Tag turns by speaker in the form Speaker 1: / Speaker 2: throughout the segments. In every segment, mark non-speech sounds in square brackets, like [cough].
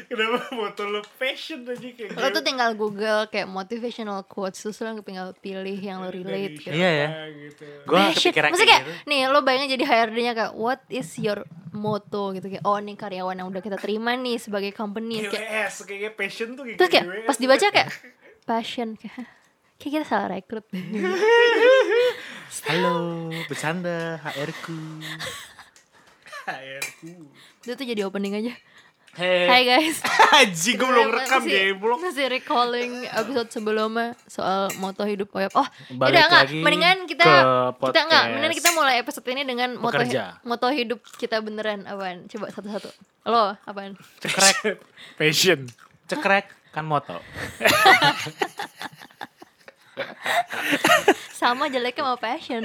Speaker 1: Kenapa motor lo passion aja kayak gitu?
Speaker 2: Lo tuh tinggal Google kayak motivational quotes terus lo tinggal pilih yang lo relate gitu.
Speaker 3: Iya ya.
Speaker 1: gitu.
Speaker 3: Gue
Speaker 2: Passion.
Speaker 3: kepikiran
Speaker 2: Maksudnya
Speaker 3: kayak
Speaker 2: kayak
Speaker 3: gitu.
Speaker 2: nih lo bayangin jadi HRD-nya kayak what is your motto gitu kayak oh nih karyawan yang udah kita terima nih sebagai company kayak,
Speaker 1: GWS kayaknya passion tuh Iya, eh, kayak
Speaker 2: terus kayak
Speaker 1: GWS.
Speaker 2: pas dibaca kayak passion kayak kayak kita salah rekrut [laughs]
Speaker 3: Halo, bercanda HR ku.
Speaker 1: HRku.
Speaker 2: itu tuh jadi opening aja Hai
Speaker 3: Hey.
Speaker 2: guys
Speaker 1: Haji gue belum
Speaker 2: Kita
Speaker 1: rekam
Speaker 2: masih-
Speaker 1: geblok.
Speaker 2: Masih recalling episode sebelumnya soal moto hidup koyop. Oh,
Speaker 3: Balik
Speaker 2: udah enggak,
Speaker 3: lagi
Speaker 2: mendingan kita
Speaker 3: ke
Speaker 2: kita enggak,
Speaker 3: podcast.
Speaker 2: mendingan kita mulai episode ini dengan moto hi-
Speaker 3: Pekerja.
Speaker 2: moto hidup kita beneran apaan? Coba satu-satu. Lo apaan?
Speaker 3: Cekrek,
Speaker 1: Passion.
Speaker 3: cekrek kan moto.
Speaker 2: Sama jeleknya sama
Speaker 3: [laughs]
Speaker 2: passion.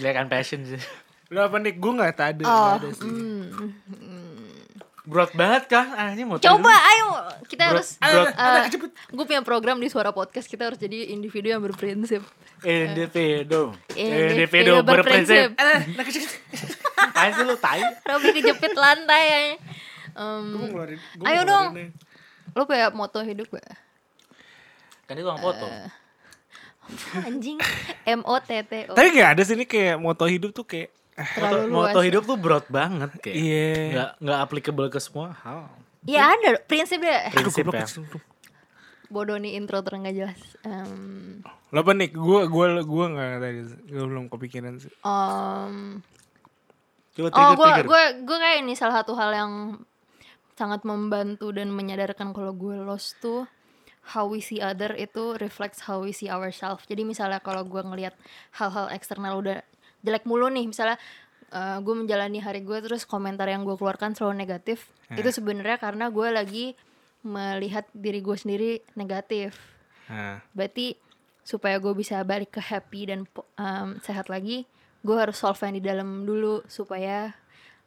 Speaker 3: Jelek kan passion sih.
Speaker 1: Lo apa nih? Gue gak ada.
Speaker 2: oh,
Speaker 1: nggak ada sih.
Speaker 2: hmm.
Speaker 3: Berat banget kan anjing moto.
Speaker 2: Coba ayo kita
Speaker 3: Bro-
Speaker 2: harus
Speaker 3: bro-
Speaker 2: gue punya program di suara podcast kita harus jadi individu yang berprinsip.
Speaker 3: Iya, Individu.
Speaker 2: Individu berprinsip.
Speaker 1: Eh, nah kecil kecil.
Speaker 3: Apaan sih Ah, lu tai?
Speaker 2: Robby kejepit lantai. ya. Em,
Speaker 1: Gue mau ngeluarin. gua mau
Speaker 2: mm. Ayo
Speaker 1: ngeluarin
Speaker 2: dong.
Speaker 1: nih.
Speaker 2: lo punya moto hidup gak?
Speaker 3: Kan dia tukang foto.
Speaker 2: anjing [laughs] M O T T O
Speaker 1: Tapi gak ada sih ini kayak moto hidup tuh kayak. ah,
Speaker 3: Moto,
Speaker 2: terlalu luas
Speaker 3: moto hidup tuh broad banget kayak.
Speaker 1: Iya.
Speaker 3: Nggak nggak applicable ke semua hal.
Speaker 2: ya ada prinsipnya
Speaker 1: Aduh
Speaker 3: Prinsip
Speaker 1: goblok
Speaker 3: ya.
Speaker 1: kecil tuh.
Speaker 2: bodoh nih intro terus nggak jelas Em,
Speaker 1: Lo apa nih? Gue gue gue gak tadi. Gue belum kepikiran sih.
Speaker 2: em,
Speaker 3: Coba
Speaker 2: oh
Speaker 3: trigger
Speaker 2: gue
Speaker 3: trigger.
Speaker 2: gue gue kayak ini salah satu hal yang sangat membantu dan menyadarkan kalau gue lost tuh how we see other itu reflects how we see ourselves jadi misalnya kalau gue ngelihat hal-hal eksternal udah jelek mulu nih misalnya eh, gue menjalani hari gue terus komentar yang gue keluarkan selalu negatif itu sebenarnya karena gue lagi melihat diri gue sendiri negatif
Speaker 1: Nah.
Speaker 2: berarti supaya gue bisa balik ke happy dan po- um, sehat lagi gue harus solve yang di dalam dulu supaya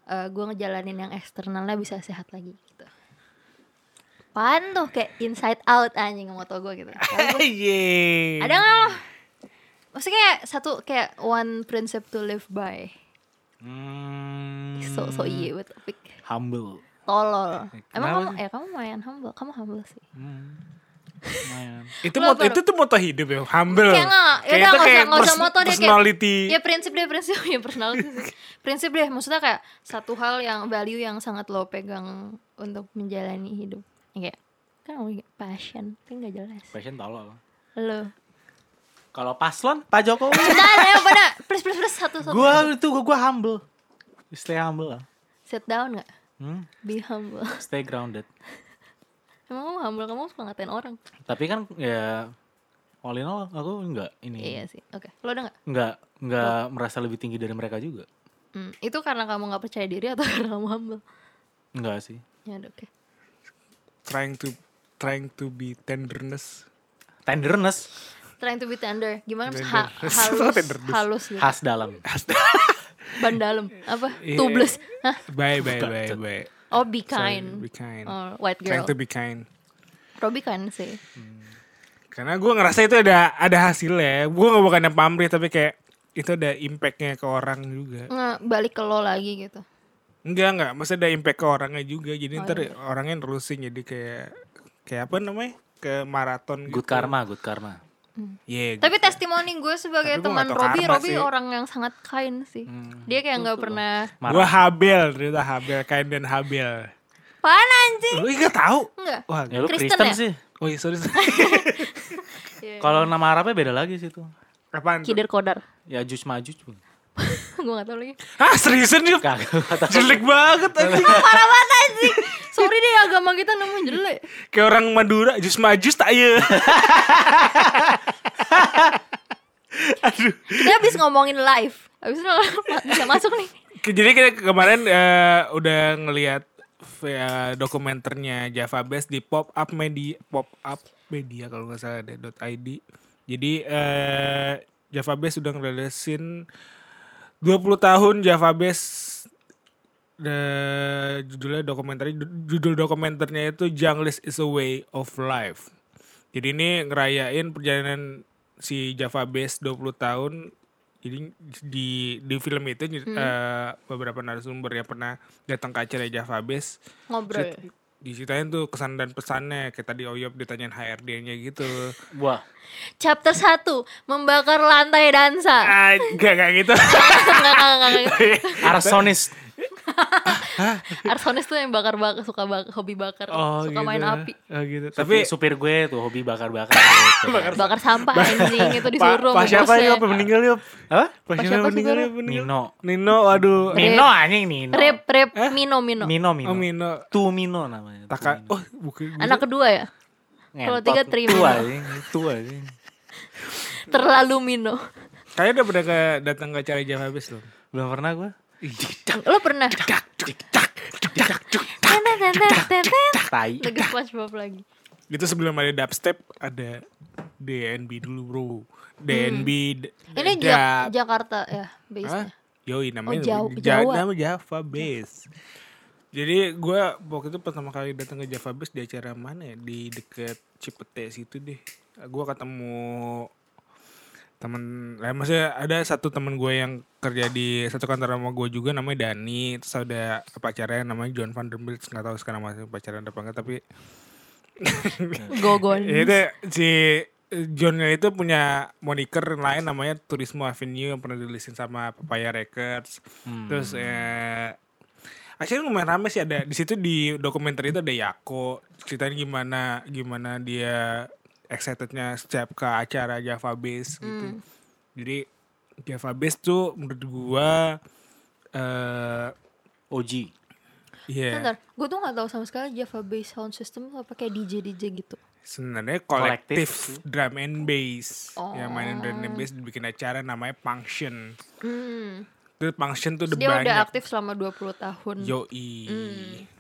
Speaker 2: uh, gue ngejalanin yang eksternalnya bisa sehat lagi gitu Apaan tuh kayak inside out anjing moto
Speaker 3: [laughs]
Speaker 2: gue
Speaker 1: [laughs]
Speaker 2: gitu Kalau gua-
Speaker 1: Yeay.
Speaker 2: ada nggak lo maksudnya kayak satu kayak one principle to live by
Speaker 3: Hmm,
Speaker 2: so so iya buat topik
Speaker 3: humble.
Speaker 2: tolol emang
Speaker 3: Eh, kenapa
Speaker 2: kamu ya kamu lumayan humble kamu humble sih
Speaker 3: Lumayan.
Speaker 1: itu
Speaker 2: Lo
Speaker 1: moto
Speaker 2: baru-
Speaker 1: itu tuh moto hidup ya humble
Speaker 2: Kayak nggak, yaudah
Speaker 1: itu
Speaker 2: nggak usah-
Speaker 1: kayak
Speaker 2: nggak usah
Speaker 1: pers-
Speaker 2: moto deh, kayak-
Speaker 1: personality
Speaker 2: Ya prinsip deh prinsip [laughs] ya personality sih. prinsip deh maksudnya kayak satu hal yang value yang sangat lo pegang untuk menjalani hidup. Ya Kayak kan ngomongin passion kan gak jelas.
Speaker 3: Passion tolol.
Speaker 2: Lo.
Speaker 3: Kalau paslon Pak Jokowi.
Speaker 2: Bentar ayo pada please please please satu satu.
Speaker 3: gua itu gua, gua humble. Stay humble lah.
Speaker 2: Sit down gak?
Speaker 3: Hmm,
Speaker 2: Be humble. [laughs]
Speaker 3: stay grounded.
Speaker 2: Emang kamu humble kamu suka ngatain orang?
Speaker 1: Hmm.
Speaker 3: Tapi kan ya all in all aku enggak ini.
Speaker 2: Iya sih. Oke. Lo udah gak?
Speaker 3: Enggak enggak merasa lebih tinggi dari mereka juga.
Speaker 2: Hmm, itu karena kamu gak percaya diri atau [laughs] karena kamu humble?
Speaker 3: Enggak sih.
Speaker 2: Ya udah, oke.
Speaker 1: trying to trying to be tenderness
Speaker 3: Tenderness
Speaker 2: Trying to be tender. Gimana
Speaker 1: Tender. [laughs]
Speaker 2: ha- halus
Speaker 1: Tender.
Speaker 2: halus gitu.
Speaker 3: khas dalam.
Speaker 2: Ban dalam. Apa?
Speaker 1: Iya.
Speaker 2: Tubeless. Hah?
Speaker 3: [laughs]
Speaker 1: bye bye bye bye
Speaker 2: Oh be
Speaker 1: Sorry,
Speaker 2: kind.
Speaker 1: be kind
Speaker 2: Oh, white girl.
Speaker 1: trying to be kind
Speaker 2: Robby kan sih.
Speaker 1: karena gue ngerasa itu ada ada hasilnya gue nggak bukan yang pamrih tapi kayak itu ada impactnya ke orang juga
Speaker 2: Nge balik ke lo lagi gitu.
Speaker 1: enggak enggak maksudnya ada impact ke orangnya juga jadi
Speaker 2: Oh,
Speaker 1: ntar
Speaker 2: iya.
Speaker 1: orangnya nerusin jadi kayak kayak apa namanya ke maraton gitu
Speaker 3: Good karma, good karma.
Speaker 1: yeah,
Speaker 2: Tapi testimoni gue sebagai
Speaker 1: Iya. Tapi gua
Speaker 2: teman
Speaker 1: nggak tahu
Speaker 2: Robby,
Speaker 1: karma
Speaker 2: Robby
Speaker 1: sih. Hmm,
Speaker 2: orang yang sangat kind sih. Dia kayak nggak pernah.
Speaker 1: gue habel ternyata habel kain dan habel
Speaker 2: Pan anjing?
Speaker 1: lu nggak tahu
Speaker 2: Enggak.
Speaker 1: wah
Speaker 3: Ya lu
Speaker 2: Kristen
Speaker 3: Kristen,
Speaker 2: ya?
Speaker 3: sih.
Speaker 1: oh iya sorry, sorry.
Speaker 2: [laughs]
Speaker 1: Iya.
Speaker 3: Kalau nama Arabnya beda lagi sih tuh.
Speaker 1: Apaan tuh?
Speaker 2: Kider kodar. [laughs]
Speaker 3: Ya jus maju pun.
Speaker 2: gue nggak tahu lagi.
Speaker 1: Hah Ah, seriusan Yul?
Speaker 3: Kagak [laughs] kata
Speaker 1: Jelek banget
Speaker 3: [laughs]
Speaker 1: anjing.
Speaker 2: Ah, Parah banget anjing. Sorry deh agama kita nemu jelek.
Speaker 1: Kayak orang Madura jus majus tak ya. Aduh.
Speaker 2: Kita habis ngomongin live. Habis itu bisa masuk nih.
Speaker 1: Jadi kita kemarin eh, udah ngelihat eh, dokumenternya Java Best di pop up media pop up media kalau nggak salah ada .id. Jadi eh, Java Best sudah ngerelesin 20 tahun Java Base the judulnya dokumenter judul dokumenternya itu Junglist is a way of life. Jadi ini ngerayain perjalanan si Java Base 20 tahun. Jadi di di film itu
Speaker 2: Hmm.
Speaker 1: eh, beberapa narasumber yang pernah datang ke acara Java Base
Speaker 2: Ngobrol.
Speaker 1: diceritain tuh kesan dan pesannya kayak tadi Oyop ditanyain HRD-nya
Speaker 2: [laughs]
Speaker 1: gitu.
Speaker 3: Wah,
Speaker 2: Chapter 1 Membakar lantai dansa
Speaker 1: Ah, gak kayak gitu.
Speaker 2: Enggak, enggak, enggak, enggak.
Speaker 3: arsonis.
Speaker 2: Arsonis tuh yang bakar-bakar Suka bak- hobi bakar Suka main api
Speaker 1: Oh, gitu. Tapi
Speaker 3: Tapi supir gue tuh hobi bakar-bakar. gitu.
Speaker 2: Bakar sampah anjing Itu
Speaker 1: Pak
Speaker 2: disuruh
Speaker 1: [laughs] pa,
Speaker 2: sama
Speaker 1: siapa
Speaker 2: bosnya.
Speaker 1: yang meninggal Yop?
Speaker 3: Apa?
Speaker 1: Pak
Speaker 2: Pa
Speaker 1: siapa yang
Speaker 2: siapa
Speaker 1: meninggal
Speaker 2: sih,
Speaker 1: Yop? meninggal?
Speaker 3: Nino.
Speaker 1: Nino, waduh.
Speaker 3: Mino anjing Nino.
Speaker 2: Rip, rip,
Speaker 1: Eh?
Speaker 2: Mino, Mino
Speaker 3: Mino, Mino.
Speaker 1: Oh, Nino.
Speaker 3: Tu Mino namanya. Tu
Speaker 1: Taka,
Speaker 3: Mino.
Speaker 1: oh bukan.
Speaker 2: Anak kedua ya? kalau
Speaker 3: Ngentot.
Speaker 2: tiga terima.
Speaker 3: Tua anjing, tua anjing.
Speaker 2: Terlalu Mino
Speaker 1: Kayaknya udah pernah ke, datang ke acara Java habis loh.
Speaker 3: Belum pernah gue.
Speaker 2: Lo pernah?
Speaker 3: Tai.
Speaker 2: Lagi SpongeBob lagi
Speaker 1: Itu sebelum ada dubstep ada DNB dulu bro. DNB. d-
Speaker 2: Ini
Speaker 1: dub.
Speaker 2: Ja- Jakarta ya
Speaker 1: Hah?
Speaker 2: base
Speaker 1: Yoi namanya
Speaker 2: Oh, Jau-
Speaker 1: Ja-
Speaker 2: Jawa.
Speaker 1: nama Java Base. Jadi gue waktu itu pertama kali datang ke Java Base di acara mana ya? Di deket Cipete situ deh. Gue ketemu temen, lah maksudnya ada satu temen gue yang kerja di satu kantor sama gue juga namanya Dani. Terus ada pacarnya namanya John Van Der Milch. Gak tahu sekarang masih pacaran apa enggak tapi
Speaker 2: Gogon
Speaker 1: Ya, itu si Johnnya itu punya moniker lain namanya Turismo Avenue yang pernah dilisin sama Papaya Records. Terus eh akhirnya lumayan rame sih ada di situ di dokumenter itu ada Yako ceritain gimana gimana dia excitednya setiap ke acara Java Bass gitu. Jadi Java Bass tuh menurut gua eh
Speaker 3: Oji.
Speaker 1: iya
Speaker 2: Bentar, gue tuh gak tahu sama sekali Java Bass Sound System tuh apa kayak DJ-DJ gitu
Speaker 1: sebenarnya
Speaker 3: Kolektif
Speaker 1: kolektif drum and bass yang mainin drum
Speaker 2: Oh.
Speaker 1: and bass dibikin acara namanya function
Speaker 2: Hmm.
Speaker 1: terus function tuh
Speaker 2: Terus
Speaker 1: udah
Speaker 2: Dia
Speaker 1: banyak
Speaker 2: udah Hmm. aktif selama 20 tahun
Speaker 1: yoi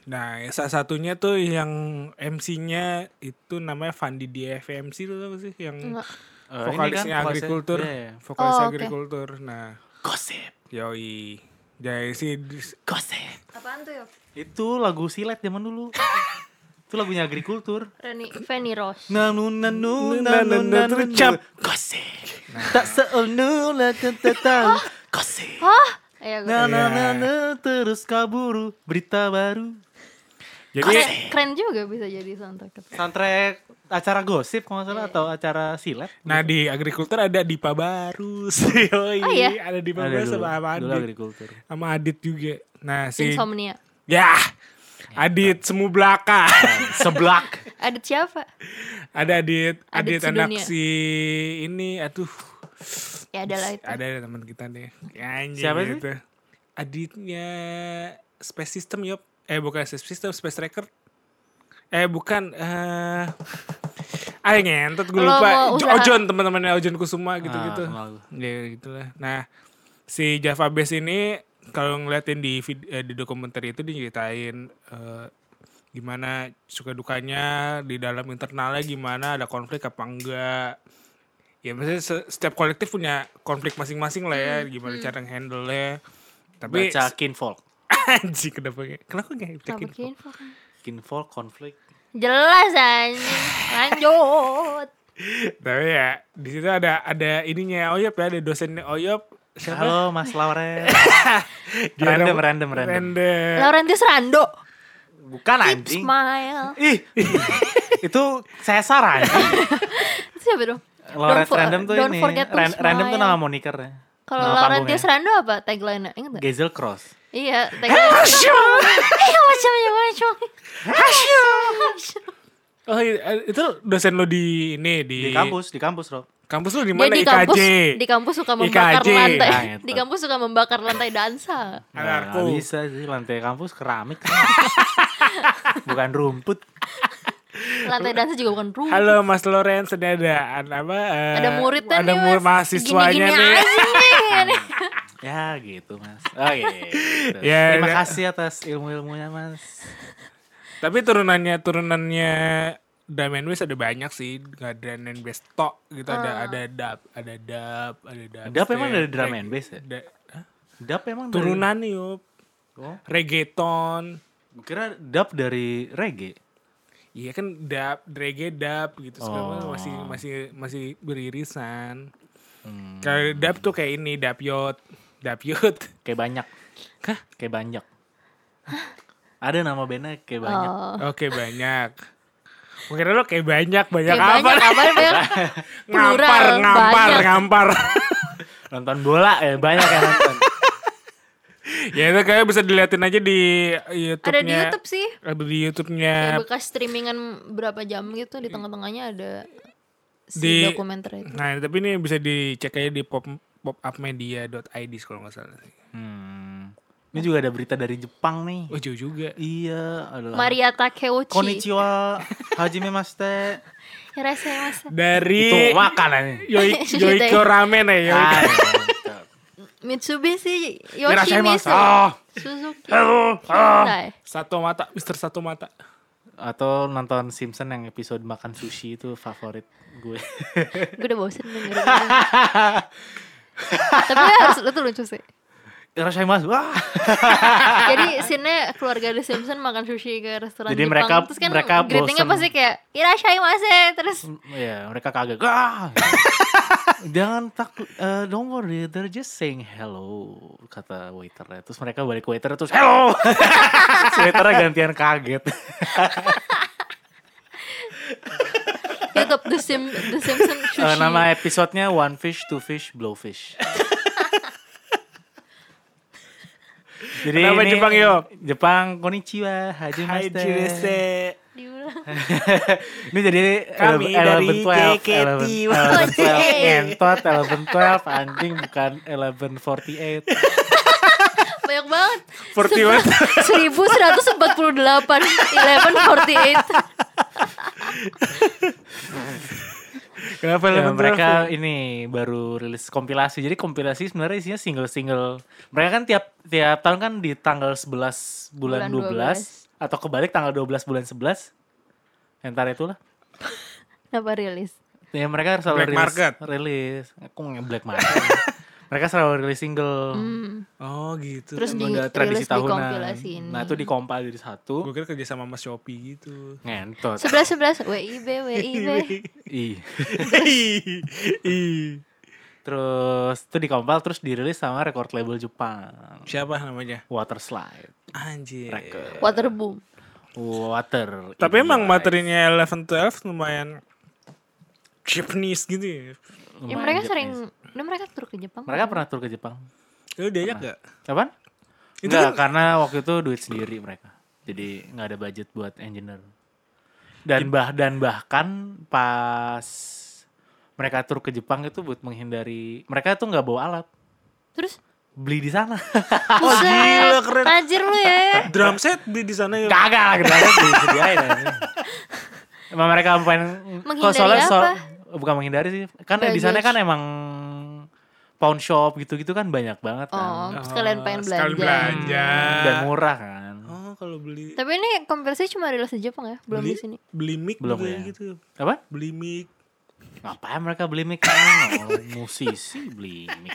Speaker 1: nah ya salah satunya tuh yang MC-nya itu namanya Fandi DFMC tuh apa sih yang
Speaker 2: Enggak.
Speaker 3: Eh, ini
Speaker 1: vokalisnya
Speaker 3: kan
Speaker 1: agrikultur
Speaker 3: vokalisnya, iya, iya.
Speaker 1: vokalis
Speaker 2: Oh, oke.
Speaker 1: agrikultur nah
Speaker 3: Gosip.
Speaker 1: yoi jadi sih
Speaker 3: Gosip.
Speaker 2: Apaan tuh ya?
Speaker 3: Itu lagu silet zaman dulu. itu lagunya agrikultur.
Speaker 2: Reni, Fanny Rose
Speaker 3: Nanu
Speaker 1: Nanu,
Speaker 3: nanu nanu
Speaker 1: nanu,
Speaker 3: nanu
Speaker 1: cap.
Speaker 3: Gosip. Tak seenu lah tentang gosip.
Speaker 2: Hah? Iya gue
Speaker 3: Na na na na terus kaburu berita baru.
Speaker 1: jadi
Speaker 2: keren, keren juga bisa jadi soundtrack
Speaker 3: Soundtrack acara gosip kalau nggak salah atau acara silet.
Speaker 1: nah di agrikultur ada Dipa Barus [laughs] yoi
Speaker 2: Oh, iya?
Speaker 1: ada Dipa
Speaker 3: Ada
Speaker 1: Barus
Speaker 3: dulu,
Speaker 1: sama
Speaker 3: dulu
Speaker 1: Adit
Speaker 3: agrikultur.
Speaker 1: sama Adit juga nah si
Speaker 2: Insomnia
Speaker 1: Ya, Adit semu belaka.
Speaker 3: Seblak.
Speaker 2: Ada siapa?
Speaker 1: ada Adit, Adit,
Speaker 2: Adit
Speaker 1: anak
Speaker 2: sedunia.
Speaker 1: si ini, aduh,
Speaker 2: Ya adalah itu
Speaker 1: ada ada teman kita nih. Ya, Anjing
Speaker 3: Siapa sih?
Speaker 1: gitu. Aditnya Space System yop. Eh bukan Space System, Space Tracker. Eh bukan. eh Ayo ngentot gue
Speaker 2: Lo
Speaker 1: lupa.
Speaker 2: mau
Speaker 1: Jo-
Speaker 2: usaha?
Speaker 1: Ojon teman-temannya Ojon Kusuma gitu-gitu.
Speaker 3: Ah, kenal gue.
Speaker 1: ya gitulah. Nah si Java Base ini kalau ngeliatin di vid- eh, di dokumenter itu diceritain eh, gimana suka dukanya di dalam internalnya gimana ada konflik apa enggak ya maksudnya se- setiap kolektif punya konflik masing-masing lah
Speaker 2: Hmm,
Speaker 1: ya gimana cara handle nya tapi
Speaker 3: Baca kinfolk.
Speaker 1: [laughs] anjing kenapa nge- kenapa nggak
Speaker 2: Kenapa
Speaker 1: cekin
Speaker 2: kirim Falcon?
Speaker 3: Kinfolk konflik.
Speaker 2: Jelas anjing
Speaker 3: [sighs]
Speaker 2: Lanjut
Speaker 1: tapi ya di situ ada ada ininya oyop ya ada dosennya oyop siapa
Speaker 3: Halo Mas Lauren. [laughs]
Speaker 1: Dia
Speaker 3: random,
Speaker 1: nama-
Speaker 3: random, random.
Speaker 1: random.
Speaker 2: Laurentius Rando
Speaker 3: Bukan anjing.
Speaker 2: Smile
Speaker 3: [laughs] Ih. itu Cesar anjing.
Speaker 2: Itu siapa dong?
Speaker 3: Lauren
Speaker 2: fo-
Speaker 3: random tuh
Speaker 2: don't
Speaker 3: ini.
Speaker 2: forget to
Speaker 3: Ran- random tuh
Speaker 2: smile.
Speaker 3: nama monikernya.
Speaker 2: Kalau
Speaker 3: Nama ya.
Speaker 2: Laurentius
Speaker 3: panggungnya.
Speaker 2: Rando apa tagline-nya? Ingat gak?
Speaker 3: Gezel Cross. [laughs]
Speaker 2: Iya, tagline. Hasyum. [laughs] Eh, macam macam. Hasyum.
Speaker 1: Oh i- itu dosen lo di ini di,
Speaker 3: Di kampus, di kampus, Rob.
Speaker 1: Kampus lo di
Speaker 2: Dia
Speaker 1: mana
Speaker 2: di
Speaker 1: IKJ?
Speaker 2: kampus, di kampus suka membakar
Speaker 1: IKJ.
Speaker 2: lantai.
Speaker 3: Nah, itu.
Speaker 2: di kampus suka membakar lantai dansa.
Speaker 1: Anarko.
Speaker 3: Nggak Nah, bisa sih lantai kampus keramik. [laughs] Bukan rumput.
Speaker 2: Lantai dansa juga bukan rumah.
Speaker 1: Halo Mas Loren, sudah ada an- apa? eh,
Speaker 2: Ada muridnya
Speaker 1: ada
Speaker 2: nih,
Speaker 1: murid
Speaker 2: Mas.
Speaker 1: mahasiswanya
Speaker 2: Gini-gini
Speaker 1: nih.
Speaker 2: aja
Speaker 1: [laughs]
Speaker 2: nih.
Speaker 3: Ya gitu, Mas. Oke. Terus,
Speaker 1: Ya,
Speaker 3: Terima
Speaker 1: ya.
Speaker 3: kasih atas ilmu-ilmunya, Mas.
Speaker 1: Tapi turunannya turunannya drum and bass ada banyak sih, nggak drum and bass tok gitu
Speaker 2: Ah.
Speaker 1: ada ada dub, ada dub, ada dub.
Speaker 3: Dap emang dari drum and bass ya? Dap emang dari-
Speaker 1: Turunan nih, yup.
Speaker 3: Oh,
Speaker 1: Reggaeton.
Speaker 3: gua kira dap dari reggae.
Speaker 1: Iya kan dub, reggae dub gitu sekarang masih masih masih beririsan. Kalau dub tuh kayak ini dub yot, dub yot.
Speaker 3: Kayak banyak. Kayak banyak. Ada nama bandnya kayak banyak.
Speaker 2: Oh.
Speaker 1: Oke banyak. Gue kira lo kayak banyak banyak
Speaker 2: Kayak
Speaker 1: apa?
Speaker 2: banyak apa ya?
Speaker 1: [laughs]
Speaker 2: Plural,
Speaker 1: ngampar ngampar
Speaker 2: banyak.
Speaker 1: ngampar.
Speaker 3: Nonton bola ya banyak yang nonton.
Speaker 1: ya itu kayak bisa diliatin aja di YouTube-nya.
Speaker 2: Ada di YouTube Ya, sih.
Speaker 1: Ada di YouTube-nya
Speaker 2: Kayak bekas streamingan berapa jam gitu di tengah-tengahnya ada si
Speaker 1: Di-
Speaker 2: dokumenter itu.
Speaker 1: Nah, tapi ini bisa dicek aja di pop popupmedia.id kalau nggak salah.
Speaker 3: Hmm. Ini juga ada berita dari Jepang nih.
Speaker 1: Oh, jauh juga.
Speaker 3: Iya, adalah.
Speaker 2: Maria Takeuchi.
Speaker 3: Konnichiwa, Hajime Maste.
Speaker 2: Hirashimasu.
Speaker 1: Dari
Speaker 3: Itu makanan.
Speaker 2: [laughs]
Speaker 1: Yoi- Yoiko Ramen ya. Yoiko.
Speaker 3: Ah, [laughs]
Speaker 2: Mitsubishi
Speaker 1: Hirashimasu.
Speaker 2: Yoshimizu.
Speaker 1: Ah.
Speaker 2: Suzuki. Nah,
Speaker 1: Halo. Ah.
Speaker 2: Hyundai.
Speaker 1: Satu mata, Mister Satu Mata.
Speaker 3: Atau nonton Simpson yang episode makan sushi itu favorit [laughs] gue.
Speaker 2: Gue udah bosen dengerin. Tapi harus lu tuh lucu sih.
Speaker 3: Rasanya mas, wah.
Speaker 2: Jadi scene-nya keluarga The Simpson makan sushi ke restoran
Speaker 3: Jadi
Speaker 2: Jepang.
Speaker 3: mereka-
Speaker 2: Terus kan
Speaker 3: mereka
Speaker 2: greetingnya
Speaker 3: bosen.
Speaker 2: pasti kayak Hirashimasu. Terus
Speaker 3: Ya, mereka kaget. Wah. [laughs] Jangan takut, eh, don't worry, they're just saying hello, kata waiternya. Terus mereka balik ke waiter terus hello. [laughs] Terus waiternya gantian
Speaker 1: [laughs]
Speaker 3: kaget.
Speaker 2: YouTube Ya, The, Sim- The Simpson
Speaker 3: [laughs]
Speaker 2: sushi.
Speaker 3: Eh, nama episodenya One Fish, Two Fish,
Speaker 1: [laughs]
Speaker 3: Blowfish. Jadi
Speaker 1: Kenapa
Speaker 3: ini-
Speaker 1: Jepang, Yop?
Speaker 3: Jepang konnichiwa, hajime
Speaker 1: Hai
Speaker 3: maste.
Speaker 1: Jirese.
Speaker 2: Diulang.
Speaker 3: Ini jadi
Speaker 1: Kami
Speaker 3: ele-
Speaker 1: dari
Speaker 3: eleven twelve,
Speaker 1: JKT.
Speaker 3: eleven eleven twelve,
Speaker 2: Ojek.
Speaker 3: entot, eleven twelve, anjing bukan eleven forty eight.
Speaker 2: Banyak banget. [laughs]
Speaker 1: 41.
Speaker 2: 1148 1148
Speaker 1: Kenapa
Speaker 3: Ya,
Speaker 1: eleven
Speaker 3: mereka
Speaker 1: twelve?
Speaker 3: ini baru rilis kompilasi. Jadi kompilasi sebenarnya isinya single-single. Mereka kan tiap tiap tahun kan di tanggal 11 bulan,
Speaker 2: Bulan
Speaker 3: 12, atau kebalik tanggal 12 bulan 11. Entar itulah.
Speaker 2: Kenapa rilis?
Speaker 3: Ya mereka selalu
Speaker 1: Black
Speaker 3: rilis,
Speaker 1: market.
Speaker 3: rilis. Aku nge black market. [laughs] mereka selalu rilis single.
Speaker 2: Hmm.
Speaker 1: Oh, gitu.
Speaker 2: Terus
Speaker 3: Emang
Speaker 2: di-
Speaker 3: udah tradisi
Speaker 2: rilis di
Speaker 3: tahunan.
Speaker 2: kompilasi ini.
Speaker 3: Nah, itu dikompil jadi satu.
Speaker 1: Gue kira kerja sama Mas Shopee gitu.
Speaker 2: [laughs]
Speaker 3: Ngentot.
Speaker 2: 11 11 WIB
Speaker 3: [laughs]
Speaker 2: WIB
Speaker 3: Ih.
Speaker 1: Ih, ih.
Speaker 3: Terus itu dikompil terus dirilis sama record label Jepang.
Speaker 1: Siapa namanya?
Speaker 3: Waterslide
Speaker 1: Anjir.
Speaker 3: Record.
Speaker 2: Waterboom.
Speaker 3: Water. Iya.
Speaker 1: Tapi
Speaker 3: Ini
Speaker 1: emang
Speaker 3: guys.
Speaker 1: materinya eleven twelve lumayan Japanese gitu ya.
Speaker 2: Ya,
Speaker 3: Lumayan
Speaker 2: mereka
Speaker 3: Japanese.
Speaker 2: sering, nah, mereka tur ke Jepang.
Speaker 3: Mereka pernah tur ke Jepang.
Speaker 1: Lu diajak gak?
Speaker 3: Kapan?
Speaker 1: Itu
Speaker 3: Enggak,
Speaker 1: kan-
Speaker 3: karena waktu itu duit sendiri mereka. Jadi nggak ada budget buat engineer. Dan bah dan bahkan pas mereka tur ke Jepang itu buat menghindari mereka tuh nggak bawa alat
Speaker 2: Terus
Speaker 3: [laughs] beli
Speaker 1: [laughs]
Speaker 3: di sana
Speaker 2: Oh
Speaker 1: gila, keren.
Speaker 2: Tajir lu
Speaker 3: [laughs]
Speaker 2: ya.
Speaker 1: Drum set beli di sana ya.
Speaker 3: kagak lah gitu aja disediain aja. emang mereka pengen
Speaker 2: Menghindari apa?
Speaker 3: bukan menghindari sih kan di
Speaker 2: Baggage.
Speaker 3: sana kan emang pawn shop gitu-gitu kan banyak banget
Speaker 2: Oh,
Speaker 3: kan
Speaker 2: sekalian pengen belanja.
Speaker 1: Sekalian belanja.
Speaker 3: dan murah kan
Speaker 1: Oh, kalau beli
Speaker 2: Tapi ini kompilasi cuma rilis di Jepang ya, belum
Speaker 1: beli,
Speaker 2: di sini.
Speaker 1: Beli mic
Speaker 3: Belum
Speaker 1: juga
Speaker 3: ya.
Speaker 1: gitu.
Speaker 3: apa
Speaker 1: Beli mic.
Speaker 3: Ngapain mereka beli mic? Oh, musisi beli mic.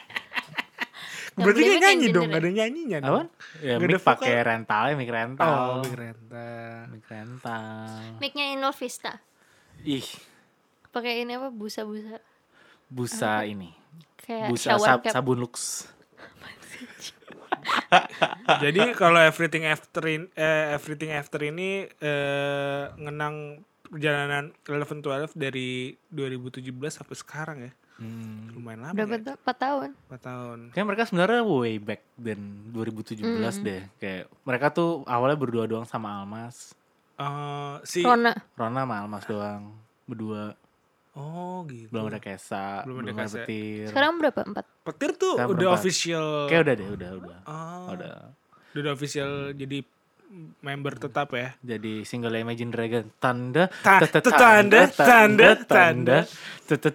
Speaker 2: Yang
Speaker 1: Berarti
Speaker 2: beli
Speaker 1: dia
Speaker 2: mic
Speaker 1: nyanyi
Speaker 2: engineer
Speaker 1: dong,
Speaker 2: ya?
Speaker 1: gak ada nyanyinya kan? Oh, dong.
Speaker 3: Apa? Ya
Speaker 1: Nggak ada
Speaker 3: mic
Speaker 1: vokal.
Speaker 3: pakai rental, ya, mic rental.
Speaker 1: Oh, beli rental.
Speaker 3: mic rental.
Speaker 2: Mic-nya Inul Vista.
Speaker 3: Ih,
Speaker 2: Pakai ini apa busa-busa
Speaker 3: busa ini.
Speaker 2: kayak
Speaker 3: Busa
Speaker 2: shower
Speaker 3: sab-
Speaker 2: cap.
Speaker 3: sabun lux.
Speaker 1: Jadi kalau everything after in, eh, everything after ini eh, ngenang perjalanan Eleven Twelve dari 2017 sampai sekarang ya.
Speaker 3: Hmm.
Speaker 1: Lumayan lama.
Speaker 2: Berapa
Speaker 1: ya,
Speaker 2: tuh? 4 tahun.
Speaker 1: 4 tahun.
Speaker 3: Kayak mereka sebenarnya way back then 2017
Speaker 2: Hmm.
Speaker 3: deh. Kayak mereka tuh awalnya berdua doang sama Almas.
Speaker 1: Eh, si
Speaker 2: Rona.
Speaker 3: Rona sama Almas doang. Berdua
Speaker 1: Oh, gitu.
Speaker 3: belum ada Kesa,
Speaker 1: Belum ada
Speaker 3: belum, ada,
Speaker 1: Kesa.
Speaker 3: Petir.
Speaker 2: Sekarang berapa? 4.
Speaker 1: Petir tuh udah
Speaker 3: Sekarang berempat.
Speaker 1: official.
Speaker 3: Kayak udah deh, udah, udah.
Speaker 1: Oh, udah.
Speaker 3: Udah.
Speaker 1: official jadi member tetap ya.
Speaker 3: jadi single Imagine Dragon tanda
Speaker 1: Ta-
Speaker 3: tete-
Speaker 1: tetanda, tanda, tanda.
Speaker 3: tete-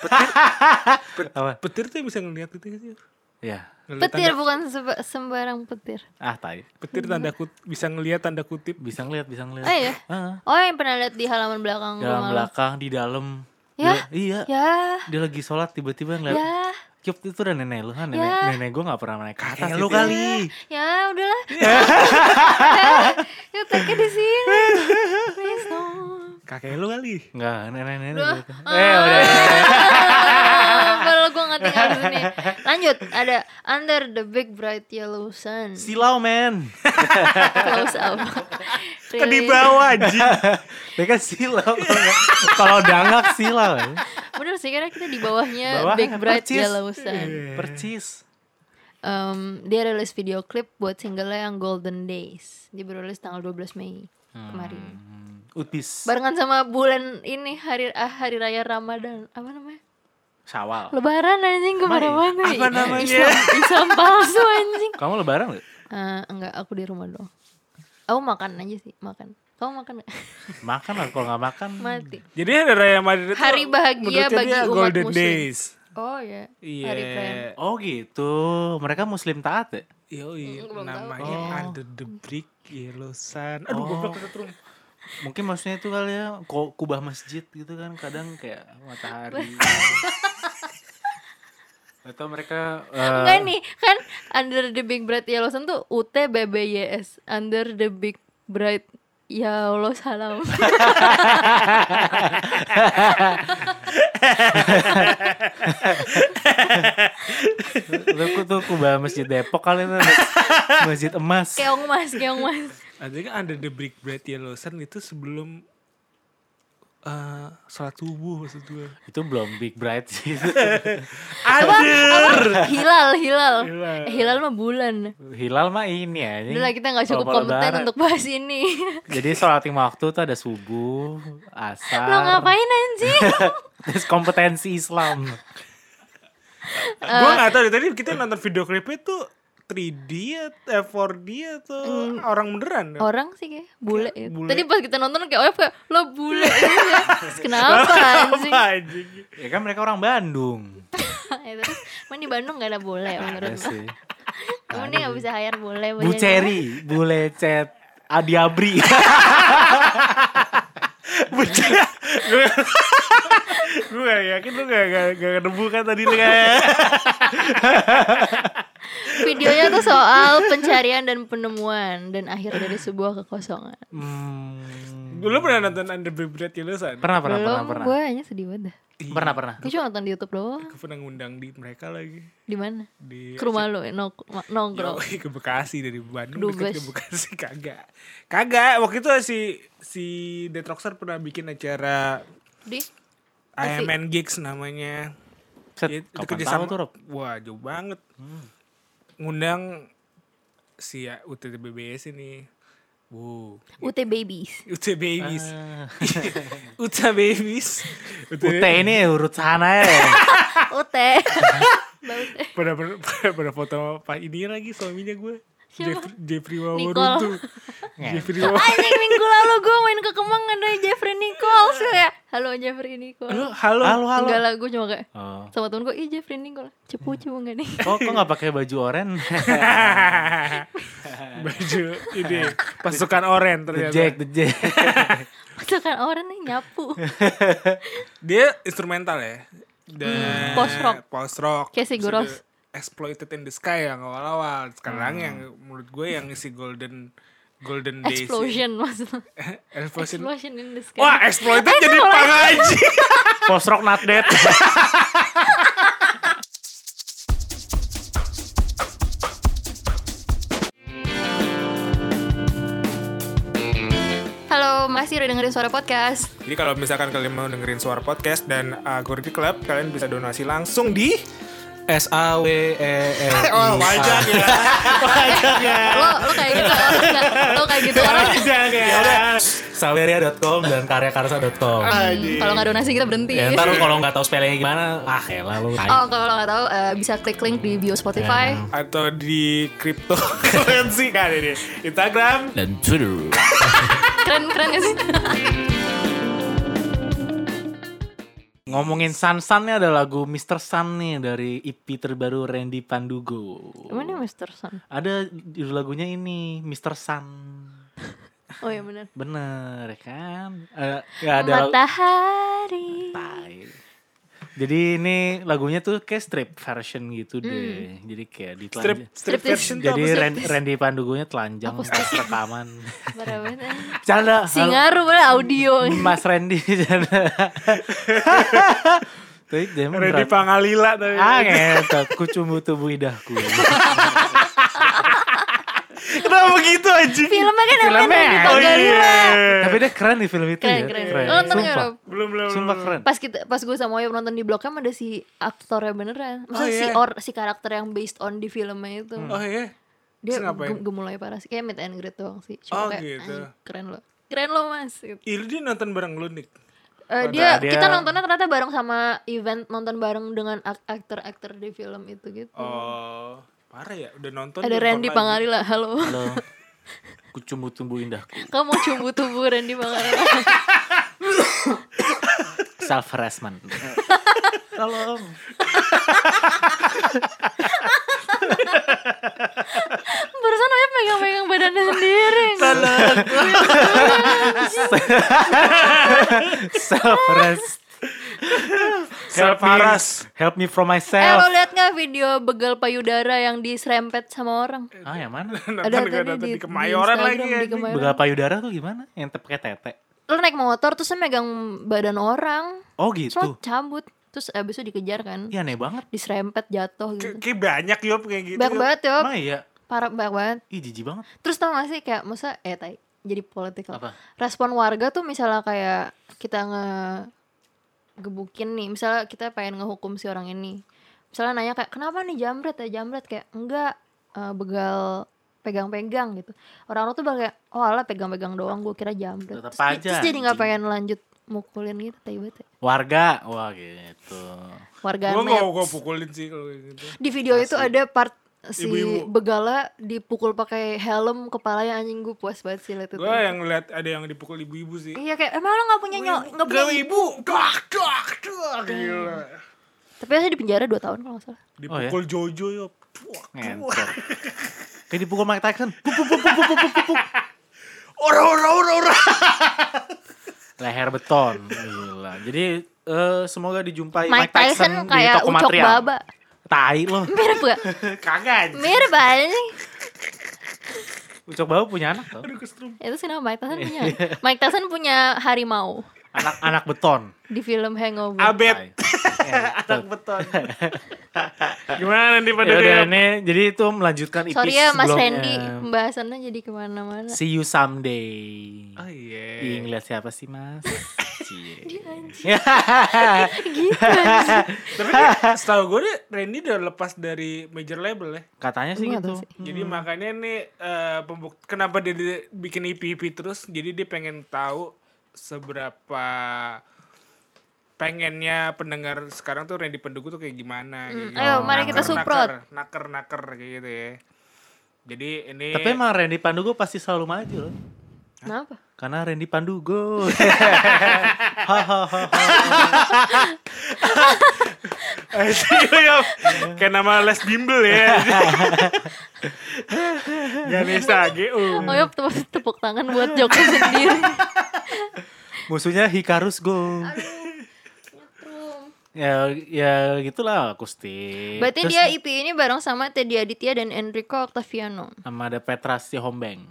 Speaker 1: [laughs]
Speaker 3: te- apa
Speaker 1: Petir tuh bisa ngeliat itu gitu. ya?
Speaker 3: ya
Speaker 1: Ngeliat
Speaker 2: Petir
Speaker 1: tanda-
Speaker 2: bukan seba- sembarang petir.
Speaker 3: ah tai
Speaker 1: petir tanda kut- bisa ngeliat tanda kutip.
Speaker 3: bisa ngeliat bisa ngeliat
Speaker 2: Oh iya.
Speaker 3: Ah,
Speaker 2: Oh yang pernah lihat di halaman belakang
Speaker 3: dalam
Speaker 2: rumah lo.
Speaker 3: belakang di dalam
Speaker 2: Ya?
Speaker 3: Dia- iya
Speaker 2: Ya,
Speaker 3: dia lagi sholat tiba-tiba ngeliat
Speaker 2: ya,
Speaker 3: Yup itu udah nenek lu kan nenek,
Speaker 2: Ya.
Speaker 3: nenek gue gak pernah naik ke atas
Speaker 1: Kakek
Speaker 3: gitu
Speaker 1: lu
Speaker 3: ya.
Speaker 1: kali.
Speaker 2: ya udahlah. ya take di sini. Please no.
Speaker 1: Kakek lu kali.
Speaker 3: Nggak, nenek-nenek
Speaker 2: Duh.
Speaker 3: gitu. Eh udah
Speaker 2: Ah, Padahal gue nggak tinggal dunia. Lanjut, ada Under the Big Bright Yellow Sun.
Speaker 3: Silau men.
Speaker 1: [laughs]
Speaker 2: Close up.
Speaker 1: Ke di
Speaker 2: Rilis-
Speaker 1: bawah Oh, anjing.
Speaker 3: Mereka kan silau. [laughs] Kalau dangak silau. ya.
Speaker 2: Bener sih karena kita di bawahnya
Speaker 3: Bawahnya,
Speaker 2: Eh, Big Bright
Speaker 3: percis.
Speaker 2: Yellow
Speaker 3: Iya.
Speaker 2: Sun.
Speaker 3: Percis.
Speaker 2: Em, dia rilis video klip buat singlenya yang Golden Days. Dia baru rilis tanggal 12 Mei kemarin.
Speaker 3: Hmm, Utis.
Speaker 2: Barengan sama bulan ini hari ah, hari raya Ramadan. Apa namanya?
Speaker 3: Sawal.
Speaker 2: Lebaran anjing kemana-mana
Speaker 1: Apa namanya?
Speaker 2: Islam, Islam palsu anjing
Speaker 3: Kamu lebaran gak?
Speaker 2: Eh, Enggak aku di rumah doang Aku makan aja sih makan Kamu makan
Speaker 1: [laughs]
Speaker 2: nggak?
Speaker 3: Makan lah kalau nggak makan.
Speaker 2: Mati
Speaker 1: Jadi ada Raya Madrid tuh
Speaker 2: Hari bahagia
Speaker 1: menurutnya
Speaker 2: bagi
Speaker 1: dia
Speaker 2: umat
Speaker 1: Golden
Speaker 2: muslim.
Speaker 1: Days.
Speaker 2: Oh ya Hari Prem
Speaker 1: Iya.
Speaker 3: Oh gitu. Mereka muslim taat ya?
Speaker 1: Yoi,
Speaker 2: Mm, belum tahu.
Speaker 1: namanya
Speaker 3: Oh.
Speaker 1: Under the Brick Yellow Sun. Aduh,
Speaker 3: Oh.
Speaker 1: goblok kata terus.
Speaker 3: Mungkin maksudnya itu kali ya ko- kubah masjid gitu kan kadang kayak
Speaker 2: [laughs]
Speaker 3: matahari. Atau mereka eh,
Speaker 2: Enggak nih kan Under the Big Bright Yellow Sun tuh UT BBYS Under the Big Bright Ya Allah
Speaker 1: [laughs]
Speaker 2: salam
Speaker 3: Lu ku- tuh kubah masjid Depok kali itu masjid emas.
Speaker 2: Keong mas Keong mas
Speaker 1: Artinya kan Under the Brick Bright Yellow Sun itu sebelum eh sholat subuh maksud gue.
Speaker 3: Itu belum big bright sih. [laughs]
Speaker 2: Apa? Apa? Hilal Hilal
Speaker 1: Hilal.
Speaker 2: Eh, Hilal mah bulan
Speaker 3: Hilal mah ini ya. ini
Speaker 2: Udah lah kita nggak cukup
Speaker 3: kalau
Speaker 2: kompeten
Speaker 3: lebaran.
Speaker 2: untuk bahas ini
Speaker 3: Jadi sholat lima waktu tuh ada subuh, asar.
Speaker 2: Lo ngapain anjing?
Speaker 3: [laughs] Terus kompetensi Islam.
Speaker 1: gue gak tau deh, tadi kita nonton video klipnya tuh 3D at- eh, 4D atau orang beneran. ya?
Speaker 2: Orang sih kayak bule, ya.
Speaker 1: bule.
Speaker 2: Tadi pas kita nonton kayak OF kayak lo bule aja. Terus Kenapa anjing? [laughs]
Speaker 1: Apa anjing?
Speaker 3: Ya kan mereka orang Bandung.
Speaker 2: Ya, Terus emang di Bandung gak ada bule menurut
Speaker 3: Ada
Speaker 2: lo.
Speaker 3: Iya sih.
Speaker 2: Kamu nih gak bisa hire bule
Speaker 3: Bu
Speaker 2: punya
Speaker 3: Ceri, Bu Lecet, [laughs] Adiabri. Bu Ceri.
Speaker 1: gue gak yakin lu gak, gak, gak nemu kan tadi
Speaker 3: Gitu
Speaker 1: lu kayak.
Speaker 2: dia. Videonya tuh soal pencarian dan penemuan dan akhir dari sebuah kekosongan.
Speaker 3: Hmm.
Speaker 1: Lu pernah nonton Under the Bright Yellow Sun?
Speaker 3: Pernah, pernah, pernah,
Speaker 2: Belum,
Speaker 3: pernah.
Speaker 2: gue hanya sedih banget. dah.
Speaker 3: Pernah, pernah.
Speaker 2: Gue cuma nonton di YouTube doang.
Speaker 1: Gue pernah ngundang di mereka lagi.
Speaker 2: Di mana?
Speaker 3: Iya
Speaker 1: Di
Speaker 2: Ke rumah lo, no, ma- nongkrong.
Speaker 1: Yoi, [laughs] ke Bekasi dari Bandung deket
Speaker 2: Dubes.
Speaker 1: ke Bekasi kagak. Kagak, waktu itu si si Detroxer pernah bikin acara
Speaker 2: Di
Speaker 3: Iya.
Speaker 2: Asik.
Speaker 1: IMN Gigs namanya.
Speaker 3: Set,
Speaker 1: Dia- itu
Speaker 3: kapan tahu
Speaker 1: kerjasama-
Speaker 3: Iya, tuh, Rob?
Speaker 1: Wah, jauh banget. Ngundang si ya, UTT BBS ini. Bu,
Speaker 2: UT Babies.
Speaker 1: UT Babies. [laughs] UT Babies. UT
Speaker 3: Ute ini urut sana ya.
Speaker 2: UT. Mbak UT.
Speaker 1: pada pada, pada- pada foto apa ini lagi suaminya gue.
Speaker 2: Siapa?
Speaker 1: Jeffrey, Jeffrey Waworuntu. [laughs] Jeffrey Waworuntu.
Speaker 2: Anjing minggu lalu gue main ke Kemang ada Jeffrey Nichols Gua kayak halo Jeffrey Nichols
Speaker 1: Halo, halo.
Speaker 3: [laughs] Halo, halo.
Speaker 2: enggak lah gue cuma kayak
Speaker 3: Oh. Hmm.
Speaker 2: sama temen gue ih Jeffrey Nichols cepu cepu enggak nih [laughs]
Speaker 3: Kok kok nggak pakai baju [laughs] oranye?
Speaker 1: [laughs] baju ini pasukan oren
Speaker 3: The
Speaker 1: ternyata
Speaker 3: Jack, the Jack.
Speaker 2: masakan orang nih
Speaker 3: [laughs]
Speaker 2: nyapu
Speaker 1: dia instrumental ya dan
Speaker 2: post rock.
Speaker 1: post rock
Speaker 2: Kayak si
Speaker 1: Terus
Speaker 2: Goros.
Speaker 1: ada exploited in the sky yang awal-awal sekarang yang menurut gue yang si golden golden days
Speaker 2: explosion maksudnya
Speaker 1: [laughs] explosion
Speaker 2: explosion in the sky
Speaker 1: wah exploited jadi pangaji
Speaker 3: Post rock not [laughs] dead.
Speaker 2: halo masih udah dengerin suara podcast
Speaker 1: jadi kalau misalkan kalian mau dengerin suara podcast dan uh, Gordy Club kalian bisa donasi langsung di
Speaker 3: S A W E L I.
Speaker 1: [laughs] oh wajar ya wajar ya
Speaker 2: lo lo kayak gitu orang enggak? lo kayak
Speaker 3: Iya,
Speaker 2: gitu orang
Speaker 1: wajar ya
Speaker 3: Saweria.com dan karyakarsa.com.
Speaker 2: Hmm, kalau nggak donasi kita berhenti
Speaker 3: Ya iya. ntar lu kalau nggak tahu spellingnya gimana, ah ya lalu.
Speaker 2: oh kalau lo nggak tahu eh, bisa klik link di bio Spotify
Speaker 3: Iya.
Speaker 1: atau di cryptocurrency kan ini Instagram
Speaker 3: Dan Twitter.
Speaker 2: keren keren gak sih
Speaker 3: Ngomongin San Sannya ada lagu Mr. Sun nih dari EP terbaru Randy Pandugo.
Speaker 2: Emang ini Mr. Sun
Speaker 3: Ada judul lagunya ini Mr. Sun.
Speaker 2: oh iya benar
Speaker 3: Bener ya kan? Eh, nggak ada lagu-
Speaker 2: matahari
Speaker 3: Tai. Jadi ini lagunya tuh kayak strip version gitu deh. Jadi kayak
Speaker 1: strip
Speaker 3: ditelanjang.
Speaker 1: strip
Speaker 2: Striptease.
Speaker 1: version tuh
Speaker 3: Jadi
Speaker 1: apa sih?
Speaker 3: Ren- Randy Pandugonya telanjang pas rekaman. [laughs]
Speaker 2: Parah banget, eh.
Speaker 3: Canda.
Speaker 1: Hmm.
Speaker 3: [laughs]
Speaker 2: Singaru bener audio
Speaker 3: Mas Randy canda. Tapi dia
Speaker 1: Ready
Speaker 3: beneran-
Speaker 1: Pangalila tapi.
Speaker 3: Ah ngetot, ku cumbu tubuh lidahku.
Speaker 1: [laughs] Kenapa begitu anjing?
Speaker 2: Filmnya kan namanya
Speaker 3: Filmnya,
Speaker 2: Ready
Speaker 3: oh
Speaker 1: iya.
Speaker 2: Pangalila.
Speaker 3: Tapi dia keren di film itu
Speaker 2: Keren,
Speaker 3: ya.
Speaker 2: keren. Lo nonton nggak,
Speaker 3: Sumpah.
Speaker 2: Rob?
Speaker 1: Belum belum.
Speaker 3: Sumpah keren.
Speaker 2: Pas kita pas gue sama Oyop nonton di Blok M ada si aktornya beneran.
Speaker 1: Oh,
Speaker 2: Maksudnya si
Speaker 1: iya.
Speaker 2: or si karakter yang based on di filmnya itu.
Speaker 1: Oh iya.
Speaker 2: Dia
Speaker 1: Terus ngapain?
Speaker 2: gem gemulai parah sih. Kayak meet and greet doang
Speaker 1: Oh,
Speaker 2: sih. Cuma kayak
Speaker 1: gitu.
Speaker 2: "Anjing, keren lo. Keren lo Mas. Gitu.
Speaker 1: Ih, lu dia nonton bareng lu Nick.
Speaker 2: Eh, dia,
Speaker 3: dia-
Speaker 2: kita nontonnya ternyata bareng sama event nonton bareng dengan ak- aktor-aktor di film itu gitu.
Speaker 1: Oh, parah ya. Udah nonton.
Speaker 2: ada
Speaker 1: nonton
Speaker 2: Randy
Speaker 1: lagi.
Speaker 2: Pangalila. Halo.
Speaker 3: Lo, ku cumbu tubuh indahku.
Speaker 2: [laughs] Kamu mau cumbu tubuh Randy Pangalila.
Speaker 3: Self
Speaker 1: [laughs]
Speaker 3: harassment. Tolong.
Speaker 2: Barusan Oyap megang-megang badannya
Speaker 1: [laughs]
Speaker 2: sendiri.
Speaker 3: Self harass.
Speaker 1: Self
Speaker 3: me-
Speaker 1: harass.
Speaker 3: Help me from
Speaker 2: Eh lo
Speaker 3: myself.
Speaker 2: liat gak video begal payudara yang diserempet sama orang?
Speaker 3: Ah yang mana?
Speaker 1: nonton
Speaker 2: Ada
Speaker 1: gue
Speaker 2: tadi
Speaker 1: nonton
Speaker 2: di-
Speaker 1: di,
Speaker 2: di
Speaker 1: Kemayoran
Speaker 2: Instagram,
Speaker 1: lagi ya.
Speaker 2: di
Speaker 1: anjing.
Speaker 2: Kemayoran.
Speaker 3: Begal payudara tuh gimana? Yang tep- pakai tete.
Speaker 2: Lo naik motor terus lo megang badan orang.
Speaker 3: Oh
Speaker 2: Terus lo
Speaker 3: gitu.
Speaker 2: cabut. Terus abis itu dikejar kan.
Speaker 3: Iya aneh banget.
Speaker 2: Diserempet jatuh
Speaker 1: Kayak-
Speaker 2: gitu.
Speaker 1: Kayak banyak yop kayak gitu.
Speaker 2: Banyak
Speaker 1: Yop.
Speaker 2: banget Yop.
Speaker 3: Emang iya.
Speaker 2: Parah banyak banget.
Speaker 3: Ih jijik banget.
Speaker 2: Terus tau gak sih kayak masa eh tai jadi politik lah.
Speaker 3: Apa?
Speaker 2: Respon warga tuh misalnya kayak kita nge gebukin nih, misalnya kita pengen ngehukum si orang ini. Misalnya nanya kayak kenapa nih jambret ya jambret kayak enggak eh, begal pegang-pegang gitu. Orang-orang tuh bakal kayak oh ala pegang-pegang doang gue kira jambret. Terus,
Speaker 3: Tetep
Speaker 2: di-
Speaker 3: aja,
Speaker 2: terus jadi nggak
Speaker 3: anjing.
Speaker 2: pengen lanjut mukulin gitu tai banget ya.
Speaker 3: Warga. Wah gitu.
Speaker 2: Warga
Speaker 1: Gue
Speaker 2: net.
Speaker 1: gak gue pukulin sih kalau kayak gitu.
Speaker 2: Di video itu ada part si
Speaker 1: Ibu-ibu.
Speaker 2: begala dipukul pakai helm kepalanya anjing gue puas banget sih liat itu.
Speaker 1: Gue yang lihat ada yang dipukul ibu-ibu sih.
Speaker 2: Iya kayak emang lo gak punya nyok gak punya
Speaker 1: Gak ibu. Dak dak dak.
Speaker 2: Oh,
Speaker 1: Gila.
Speaker 2: iya. Tapi saya di penjara 2 tahun kalau gak salah
Speaker 3: Oh, ya?
Speaker 1: Dipukul Jojo yop. Tuak, tuak.
Speaker 3: Ngentot. Kayak dipukul Mike Tyson. Pup, pup, pup, pup, pup, pup, pup, pup.
Speaker 1: Ora ora ora ora.
Speaker 3: Leher beton. Gila. Jadi eh, semoga dijumpai
Speaker 2: Mike,
Speaker 3: Mike, Tyson,
Speaker 2: Tyson,
Speaker 3: di
Speaker 2: kayak
Speaker 3: toko
Speaker 2: Ucok
Speaker 3: material.
Speaker 2: Baba [laughs]
Speaker 3: Tai loh.
Speaker 2: Mirip gak?
Speaker 1: [laughs] Kagak. anjing.
Speaker 2: Mirip aja sih.
Speaker 3: Ucok Baba punya anak tuh.
Speaker 1: Aduh kesetrum.
Speaker 2: Itu sih nama Mike Tyson punya
Speaker 3: Iya.
Speaker 2: Mike Tyson punya harimau
Speaker 3: Anak anak beton.
Speaker 2: Di film Hangover
Speaker 1: Abet.
Speaker 3: anak beton.
Speaker 1: Gimana nih pada
Speaker 3: Ya udah
Speaker 1: dia?
Speaker 3: ini jadi itu melanjutkan ipis
Speaker 2: Sorry ya Mas
Speaker 3: sebelumnya.
Speaker 2: Randy Pembahasannya jadi kemana-mana
Speaker 3: See you someday.
Speaker 1: Oh iya.
Speaker 3: Ih, ngeliat siapa sih
Speaker 1: [laughs]
Speaker 3: Mas? Cie.
Speaker 1: Tapi dia- setahu gue deh Randy udah lepas dari major label ya.
Speaker 3: [laughs] Katanya sih
Speaker 2: Gua
Speaker 3: gitu.
Speaker 2: nggak tahu
Speaker 1: Jadi makanya nih eh, pembuk- kenapa dia di- bikin IP-IP terus? Jadi dia pengen tahu seberapa pengennya pendengar sekarang tuh Randy Pendugu tuh kayak gimana kayak gitu.
Speaker 2: Hmm. Ayo mari kita
Speaker 1: Naker-naker,
Speaker 2: suprot
Speaker 1: naker-naker kayak gitu ya. Jadi ini
Speaker 3: Tapi
Speaker 1: [laughs]
Speaker 3: emang Randy Pandugo pasti selalu maju loh.
Speaker 2: Kenapa?
Speaker 3: Karena Randy
Speaker 1: [laughs]
Speaker 3: Pandugo. [laughs]
Speaker 1: Eh, iya, kayak nama Les Bimbel
Speaker 3: [laughs]
Speaker 1: ya. Ganesha
Speaker 3: Hmm.
Speaker 1: GU.
Speaker 2: Oh ya tepuk, tepuk tangan buat Joko sendiri
Speaker 3: [laughs] Musuhnya Hikarus Go. ya ya gitulah akustik.
Speaker 2: Berarti
Speaker 3: Iya, Terus
Speaker 2: dia IP ini bareng sama Teddy Aditya dan Enrico Octaviano
Speaker 3: sama ada Petra Sihombeng.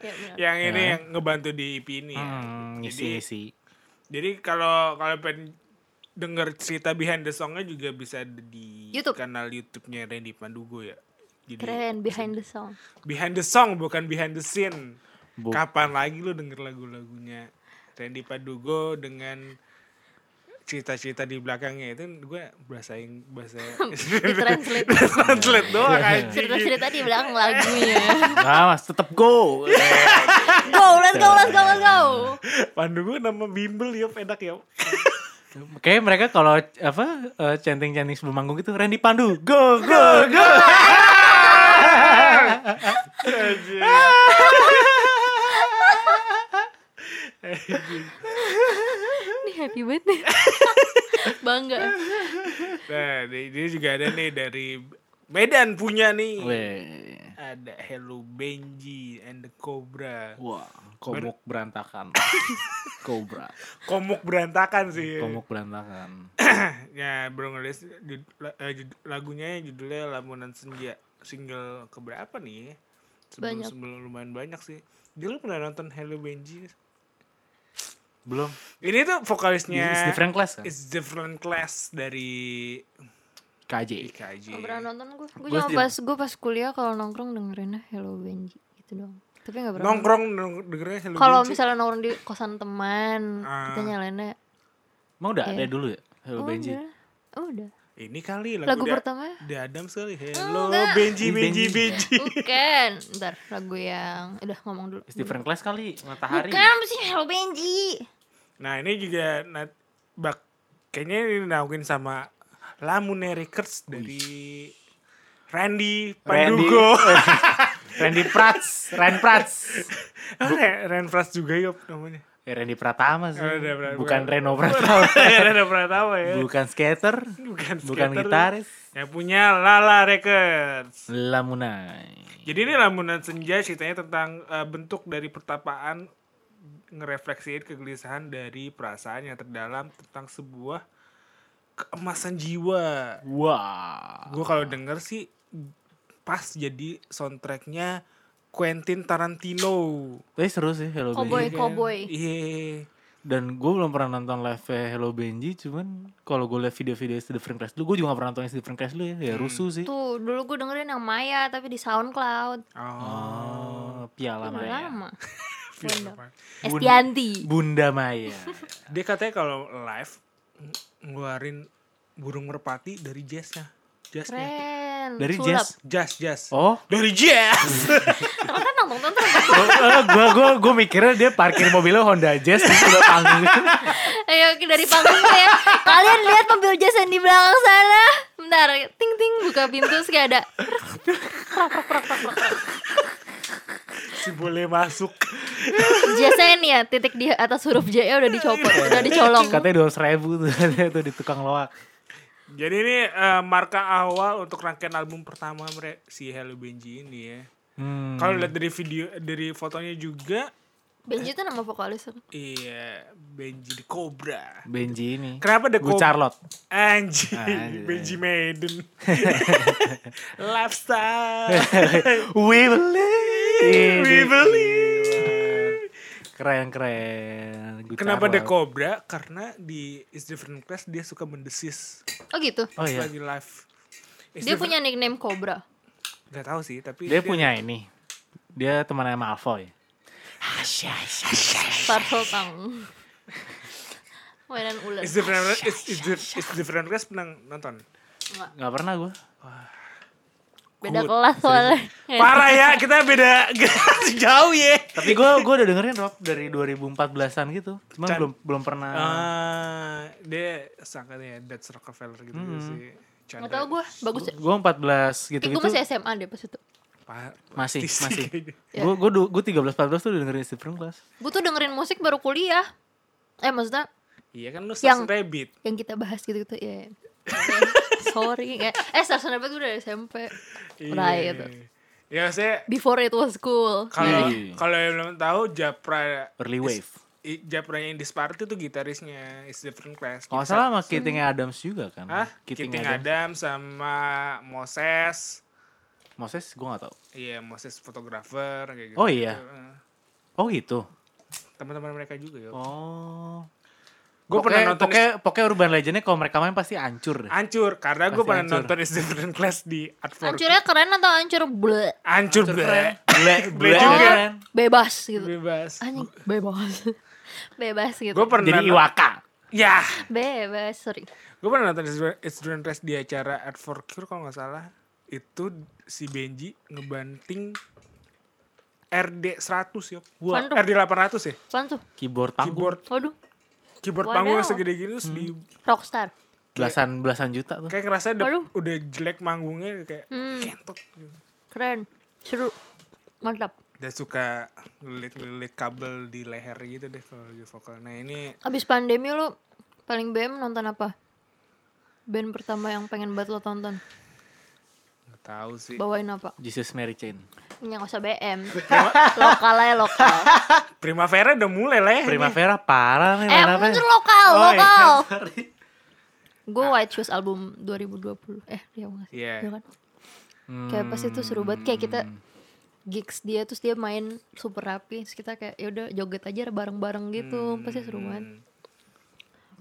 Speaker 2: Ya benar
Speaker 1: Yang ini yang ngebantu di IP ini ya.
Speaker 3: Hmm,
Speaker 1: Jadi-
Speaker 3: ngisi ngisi.
Speaker 1: Jadi kalau kalau pengen denger cerita behind the songnya juga bisa ada di
Speaker 2: YouTube.
Speaker 1: kanal YouTube-nya Randy Pandugo ya. Jadi
Speaker 2: Keren behind the
Speaker 3: [laughs]
Speaker 2: song
Speaker 1: behind the song bukan behind the scene.
Speaker 3: Bu-
Speaker 1: Kapan lagi lu denger lagu-lagunya Randy Pandugo dengan cerita-cerita di belakangnya itu gue bahasain bahasa
Speaker 2: [laughs] Ditranslate
Speaker 3: Iya.
Speaker 1: translate doang anjing.
Speaker 2: Cerita-cerita di belakang lagunya
Speaker 3: Nah, Mas, tetap go.
Speaker 2: go, let's go, let's go, let's go.
Speaker 1: Pandugo nama bimbel ya enak ya.
Speaker 3: Kayaknya mereka kalau apa eh, chanting-chanting sebelum manggung gitu Randy Pandu, go go go.
Speaker 2: Ini happy banget nih. Bangga.
Speaker 1: Nah, di- dia juga ada nih dari Medan punya nih.
Speaker 3: Weh.
Speaker 1: ada Hello Benji and the Cobra.
Speaker 3: Wah, komuk berantakan. Cobra.
Speaker 1: Komuk berantakan sih.
Speaker 3: Komuk berantakan.
Speaker 1: ya, baru ngerilis jud- la- eh, jud- lagunya judulnya Lamunan Senja. Single keberapa nih? Sebelum,
Speaker 2: Banyak.
Speaker 1: sebelum lumayan banyak sih. Dia lu pernah nonton Hello Benji?
Speaker 3: Belum.
Speaker 1: Ini tuh vokalisnya
Speaker 3: It's different class kan?
Speaker 1: It's different class dari
Speaker 3: KJ.
Speaker 1: IKJ.
Speaker 2: Nggak pernah nonton gue. Gue
Speaker 3: Gua
Speaker 2: cuma
Speaker 3: sih-
Speaker 2: pas gue pas kuliah kalau nongkrong dengerinnya Hello Benji gitu doang. Tapi nggak pernah.
Speaker 1: Nongkrong nong- dengernya Hello
Speaker 2: Kalau
Speaker 1: Benji.
Speaker 2: misalnya nongkrong di kosan teman,
Speaker 1: Ah.
Speaker 2: kita nyalainnya.
Speaker 3: Emang udah ada
Speaker 2: Iya.
Speaker 3: dulu ya? Hello
Speaker 2: Oh,
Speaker 3: Benji.
Speaker 2: udah. Oh, udah.
Speaker 1: ini kali lagu,
Speaker 2: Lagu
Speaker 1: Da-
Speaker 2: pertama?
Speaker 1: Dadam sekali. Hello
Speaker 2: Enggak.
Speaker 1: Benji
Speaker 3: Ini
Speaker 1: Benji
Speaker 3: Benji.
Speaker 1: Benji.
Speaker 2: Bukan. Ntar lagu yang udah ngomong dulu.
Speaker 3: It's different class kali, matahari.
Speaker 2: Bukan apa sih Hello Benji.
Speaker 1: Nah, ini juga nat- bak kayaknya ini dinauin sama Lamune Records dari Randy
Speaker 3: Randy.
Speaker 1: Pandugo. [laughs]
Speaker 3: Randy Prats, Randy Prats.
Speaker 1: Oh, Ren- Ren Frans juga yop namanya.
Speaker 3: Eh, Randy Pratama sih.
Speaker 1: Oh, Randy Pratama.
Speaker 3: Bukan Reno
Speaker 1: [laughs]
Speaker 3: Pratama.
Speaker 1: Ren Pratama ya.
Speaker 3: Bukan skater,
Speaker 1: Bukan,
Speaker 3: bukan
Speaker 1: skater.
Speaker 3: gitaris.
Speaker 1: Yang punya Lala Records.
Speaker 3: Lamunai.
Speaker 1: Jadi ini lamunan senja ceritanya tentang eh, bentuk dari pertapaan ngerefleksiin kegelisahan dari perasaan yang terdalam tentang sebuah keemasan jiwa.
Speaker 3: Wah.
Speaker 1: Gue kalau denger sih pas jadi soundtracknya Quentin Tarantino.
Speaker 3: Tapi Eh, seru sih Hello
Speaker 2: Cowboy.
Speaker 3: Benji.
Speaker 1: Cowboy.
Speaker 2: Cowboy.
Speaker 1: Iya.
Speaker 3: Dan gue belum pernah nonton live Hello Benji, cuman kalau gue lihat video-video It's Different Class dulu, gue juga gak pernah nonton It's Different Class dulu ya, ya rusuh sih.
Speaker 2: Hmm. Tuh, dulu gue dengerin yang Maya tapi di SoundCloud.
Speaker 1: Oh.
Speaker 3: Oh, Piala
Speaker 2: Udah
Speaker 3: Maya.
Speaker 2: lama.
Speaker 1: film
Speaker 2: Bunda.
Speaker 1: apa?
Speaker 2: Estianti.
Speaker 3: Bunda Maya.
Speaker 2: [laughs]
Speaker 1: Dia katanya kalau live ng- ngeluarin burung merpati dari jazznya. Jazznya.
Speaker 2: Keren.
Speaker 3: Dari
Speaker 2: Sulap.
Speaker 3: jazz.
Speaker 1: Jazz, jazz.
Speaker 3: Oh,
Speaker 1: Dari jazz. [laughs]
Speaker 2: Kan nonton nonton
Speaker 3: gue gue gue mikirnya dia parkir mobilnya Honda Jazz terus udah panggung.
Speaker 2: Ayo dari panggung ya. Kalian lihat mobil jazz yang di belakang sana. Bentar, ting ting buka pintu terus kayak ada.
Speaker 1: Si boleh masuk.
Speaker 2: Jazznya ini ya, titik di atas huruf J nya udah dicopot, udah dicolong.
Speaker 3: Katanya dua ribu tuh, [laughs] tuh di tukang loak.
Speaker 1: Jadi ini eh, marka awal untuk rangkaian album pertama mereka si Hello Benji ini ya.
Speaker 3: Hmm.
Speaker 1: Kalau lihat dari video dari fotonya juga
Speaker 2: Benji itu nama vokalis. kan?
Speaker 1: iya Benji the Cobra.
Speaker 3: Benji ini.
Speaker 1: Kenapa The
Speaker 3: Gue
Speaker 1: Cobra? [laughs]
Speaker 3: Charlotte.
Speaker 1: Anjing,
Speaker 3: Anjing.
Speaker 1: Benji
Speaker 3: [laughs]
Speaker 1: Maiden. Lifestyle.
Speaker 3: [laughs] We believe.
Speaker 1: We believe.
Speaker 3: Iya. Keren keren. Gue
Speaker 1: Kenapa The
Speaker 3: Charlotte.
Speaker 1: Cobra? Karena di It's Different Class dia suka mendesis
Speaker 2: Oh gitu.
Speaker 3: Oh iya.
Speaker 1: lagi live. It's
Speaker 2: Dia
Speaker 1: Different-
Speaker 2: punya nickname Cobra.
Speaker 1: Gak tahu sih, tapi
Speaker 3: Dia punya ini. Dia temannya Malfoy. Asyik, asyik.
Speaker 2: Parcel Tang. Mainan ular.
Speaker 1: It's Different Class, it's, it's, di- it's Different Class pernah nonton.
Speaker 3: Gak pernah gue.
Speaker 2: Beda
Speaker 1: good.
Speaker 2: kelas soalnya.
Speaker 1: Parah ya, kita beda [laughs] jauh ya.
Speaker 3: Tapi gue gue udah dengerin Rob dari 2014-an gitu. Cuman
Speaker 1: Can-
Speaker 3: belum belum pernah.
Speaker 1: Ah, dia sangkanya Dutch Rockefeller gitu
Speaker 3: Hmm.
Speaker 1: sih. Chandra.
Speaker 2: Gak tau gue, bagus ya.
Speaker 3: Gue 14 gitu
Speaker 2: Eh,
Speaker 3: gitu.
Speaker 2: gue masih SMA deh pas itu.
Speaker 1: Pa-
Speaker 3: Masih,
Speaker 1: pasti gitu. sih
Speaker 3: masih.
Speaker 1: kayaknya.
Speaker 2: Ya.
Speaker 3: Gue gue gue 13 14 tuh udah dengerin Steve Class.
Speaker 2: Gue tuh dengerin musik baru kuliah. Eh maksudnya
Speaker 1: Iya kan lu
Speaker 2: Yang-
Speaker 1: Sass Rabbit.
Speaker 2: yang kita bahas gitu-gitu ya. [laughs] Sorry kayak eh Sarson Rabbit gue dari SMP.
Speaker 1: Iya,
Speaker 2: Right.
Speaker 1: Ya saya
Speaker 2: Before it was cool.
Speaker 1: kalau
Speaker 3: Iya.
Speaker 1: kalau yang belum tahu Japra
Speaker 3: Early Wave.
Speaker 1: I- Japranya Indis Party tuh gitarisnya It's Different Class.
Speaker 3: Kalau nggak salah sama Keating Adams juga kan.
Speaker 1: Hah?
Speaker 3: Keating,
Speaker 1: Kiting
Speaker 3: Adams.
Speaker 1: Adam sama Moses.
Speaker 3: Moses gue gak tau.
Speaker 1: Iya, Moses fotografer kayak gitu.
Speaker 3: Oh iya. Oh gitu.
Speaker 1: Teman-teman mereka juga ya.
Speaker 3: Oh.
Speaker 1: Gue pernah nonton
Speaker 3: Pokoknya, pokoknya Urban Legendnya kalau mereka main pasti hancur deh.
Speaker 1: Ancur karena gue
Speaker 3: Pasti
Speaker 1: pernah
Speaker 3: hancur.
Speaker 1: nonton Is Different Class di Art for
Speaker 2: Hancurnya keren atau hancur ya? ble?
Speaker 1: Ancur, bre. [laughs]
Speaker 3: Ble, ble,
Speaker 1: eh. juga.
Speaker 3: juga.
Speaker 2: Bebas gitu.
Speaker 1: Bebas.
Speaker 2: Anjing, bebas. [laughs] bebas gitu.
Speaker 1: Gue pernah
Speaker 3: Jadi Iwaka.
Speaker 1: Ya,
Speaker 2: Bebas, sorry.
Speaker 1: gue pernah nonton Is Different Class di acara Art for Cure kalau nggak salah. Itu si Benji ngebanting RD 100 ya.
Speaker 2: Wah.
Speaker 1: RD 800 ya.
Speaker 2: Apaan tuh?
Speaker 3: Keyboard panggung.
Speaker 1: Keyboard
Speaker 2: Waduh,
Speaker 1: keyboard
Speaker 2: Waduh.
Speaker 1: panggungnya segede gini terus di
Speaker 3: Hmm.
Speaker 2: rockstar.
Speaker 3: Belasan belasan juta tuh.
Speaker 1: kayak ngerasa udah,
Speaker 2: Waduh. Hmm.
Speaker 1: udah jelek manggungnya kayak kentot gitu.
Speaker 2: Keren. Seru. Mantap.
Speaker 1: Dia suka ngelilit-ngelilit kabel di leher gitu deh kalau lagi vokal. Nah ini
Speaker 2: Abis pandemi lu paling BM nonton apa? Band pertama yang pengen banget lo tonton.
Speaker 1: nggak tahu sih.
Speaker 2: Bawain apa?
Speaker 3: Jesus Mary Chain.
Speaker 1: Eh,
Speaker 2: Ya gak usah BM. lokal aja lokal.
Speaker 1: Primavera udah mulai lah ya.
Speaker 3: Primavera parah nih.
Speaker 2: eh,
Speaker 3: Manapnya.
Speaker 2: muncul lokal,
Speaker 3: Oh, iya,
Speaker 2: lokal.
Speaker 3: sorry.
Speaker 2: Gue White Shoes album 2020. Eh, dia nggak sih?
Speaker 1: Iya.
Speaker 2: Iya kan? Kayak pas itu seru banget kayak kita gigs dia terus dia main super rapi terus kita kayak yaudah joget aja bareng-bareng gitu pasti seru banget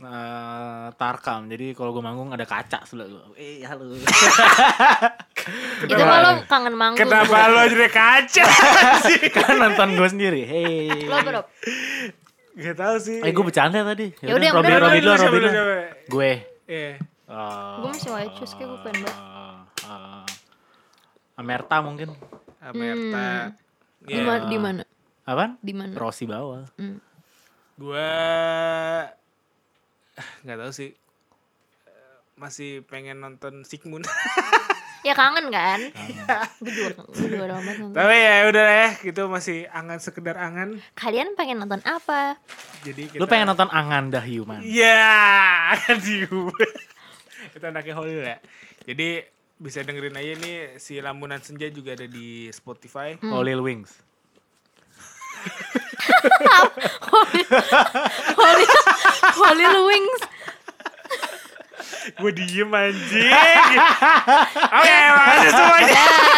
Speaker 3: Eh, tarkam jadi kalau gue manggung ada kaca sebelah gue eh halo [laughs]
Speaker 2: itu malah kangen manggung
Speaker 1: Kenapa lo jadi kaca? [laughs]
Speaker 3: kan nonton gue sendiri hey
Speaker 2: lo bro
Speaker 1: Gak tau sih.
Speaker 3: eh gue bercanda tadi
Speaker 2: Ya udah, yang
Speaker 3: Robby
Speaker 2: bener.
Speaker 3: Robby dulu
Speaker 1: Siapa
Speaker 3: Robby
Speaker 1: dulu,
Speaker 3: dulu.
Speaker 1: siapa?
Speaker 3: gue
Speaker 1: Iya.
Speaker 2: gue masih white shoes kayak gue pengen banget
Speaker 3: eh, ah. Amerta mungkin
Speaker 1: Amerta.
Speaker 3: Hmm.
Speaker 2: di mana di mana
Speaker 3: apaan
Speaker 2: di mana Hmm.
Speaker 3: Rossi bawah
Speaker 1: Gue nggak tahu sih. Eh, Masih pengen nonton Sigmund.
Speaker 3: Hmm.
Speaker 2: ya kangen kan [laughs] gue juga gue juga udah amat nonton
Speaker 1: Tapi ya udah lah ya, gitu masih angan sekedar angan.
Speaker 2: kalian pengen nonton apa [laughs]
Speaker 1: Jadi kita...
Speaker 3: lu pengen nonton Anganda Human
Speaker 1: Iya, angan diu. [laughs] Itu anaknya Holil ya. Jadi bisa dengerin aja nih si Lamunan Senja juga ada di Spotify.
Speaker 3: Oh Lil Wings
Speaker 2: Holy Holy Wings
Speaker 1: [laughs] Gue diem anjing. Oke, makasih semuanya.